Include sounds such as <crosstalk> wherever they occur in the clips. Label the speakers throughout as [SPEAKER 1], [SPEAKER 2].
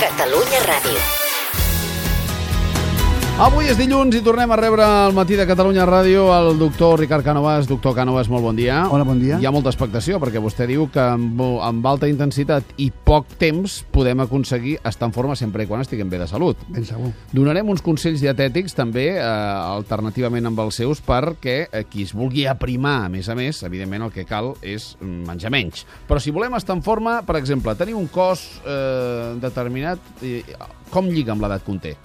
[SPEAKER 1] Catalunya Ràdio.
[SPEAKER 2] Avui és dilluns i tornem a rebre al matí de Catalunya Ràdio el doctor Ricard Cànovas. Doctor Cànovas, molt bon dia.
[SPEAKER 3] Hola, bon dia.
[SPEAKER 2] Hi ha molta expectació, perquè vostè diu que amb, amb alta intensitat i poc temps podem aconseguir estar en forma sempre i quan estiguem bé de salut.
[SPEAKER 3] Ben segur.
[SPEAKER 2] Donarem uns consells dietètics també, eh, alternativament amb els seus, perquè eh, qui es vulgui aprimar, a més a més, evidentment el que cal és mm, menjar menys. Però si volem estar en forma, per exemple, tenir un cos eh, determinat, eh, com lliga amb l'edat que un té?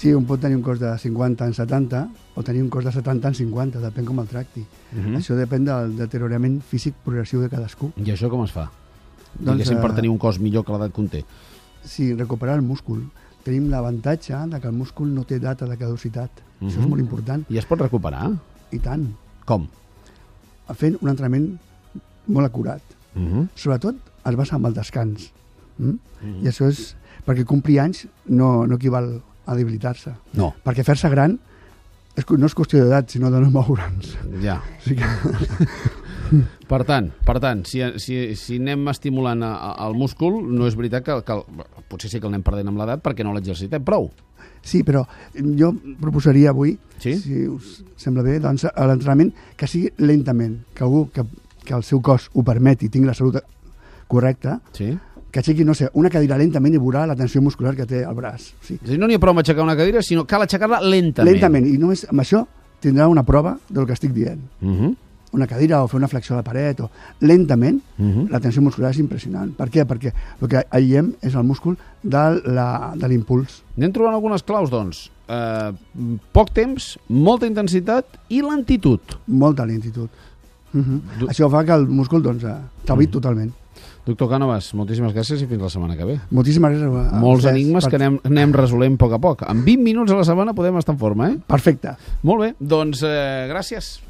[SPEAKER 3] Sí, un pot tenir un cost de 50 en 70 o tenir un cost de 70 en 50, depèn com el tracti.
[SPEAKER 2] Mhm.
[SPEAKER 3] Això depèn del deteriorament físic progressiu de cadascú.
[SPEAKER 2] I això com es fa?
[SPEAKER 3] Doncs,
[SPEAKER 2] Diguéssim, per
[SPEAKER 3] eh,
[SPEAKER 2] tenir un cos millor que l'edat que un té.
[SPEAKER 3] Sí, recuperar el múscul. Tenim l'avantatge de que el múscul no té data de caducitat. Això és
[SPEAKER 2] Mhm.
[SPEAKER 3] molt important.
[SPEAKER 2] I es pot recuperar?
[SPEAKER 3] I tant,
[SPEAKER 2] Com?
[SPEAKER 3] fent un entrenament molt acurat.
[SPEAKER 2] Uh
[SPEAKER 3] Mhm.
[SPEAKER 2] -huh.
[SPEAKER 3] Sobretot es basa en el descans. Mm?
[SPEAKER 2] Mhm.
[SPEAKER 3] I això és... Perquè complir anys no, no equival a debilitar-se.
[SPEAKER 2] No,
[SPEAKER 3] Perquè fer-se gran és, cu- no és qüestió d'edat, sinó de no moure'ns. <laughs>
[SPEAKER 2] ja.
[SPEAKER 3] O sigui que...
[SPEAKER 2] Per tant, per tant si, si, si anem estimulant a, a, el múscul, no és veritat que, que el- potser sí que el anem perdent amb l'edat perquè no l'exercitem prou.
[SPEAKER 3] Sí, però jo proposaria avui,
[SPEAKER 2] Sí?
[SPEAKER 3] si us sembla bé, doncs, a l'entrenament que sigui lentament, que algú que, que el seu cos ho permeti, tingui la salut correcta,
[SPEAKER 2] Sí?
[SPEAKER 3] que aixequi, no sé, una cadira lentament i veurà la tensió muscular que té al braç. O sigui,
[SPEAKER 2] És a dir, no n'hi ha prou amb aixecar una cadira, sinó cal aixecar-la lentament.
[SPEAKER 3] lentament, i només amb això tindrà una prova del que estic dient.
[SPEAKER 2] Uh -huh.
[SPEAKER 3] Una cadira o fer una flexió de la paret, o... lentament,
[SPEAKER 2] Uh -huh.
[SPEAKER 3] la tensió muscular és impressionant. Per què? Perquè el que aïllem és el múscul de la- de l'impuls.
[SPEAKER 2] Anem trobant algunes claus, doncs. Uh, poc temps, molta intensitat i lentitud.
[SPEAKER 3] molta lentitud. Uh
[SPEAKER 2] Du- Mm.
[SPEAKER 3] -huh. Això fa que el múscul doncs, eh, t'avui totalment.
[SPEAKER 2] Doctor Cànovas, moltíssimes gràcies i fins la setmana que ve.
[SPEAKER 3] Moltíssimes gràcies. a- a
[SPEAKER 2] Molts
[SPEAKER 3] vostès
[SPEAKER 2] enigmes
[SPEAKER 3] per-
[SPEAKER 2] que anem, anem resolent a poc a poc. En 20 minuts a la setmana podem estar en forma, eh?
[SPEAKER 3] Perfecte.
[SPEAKER 2] Molt bé, doncs eh, gràcies.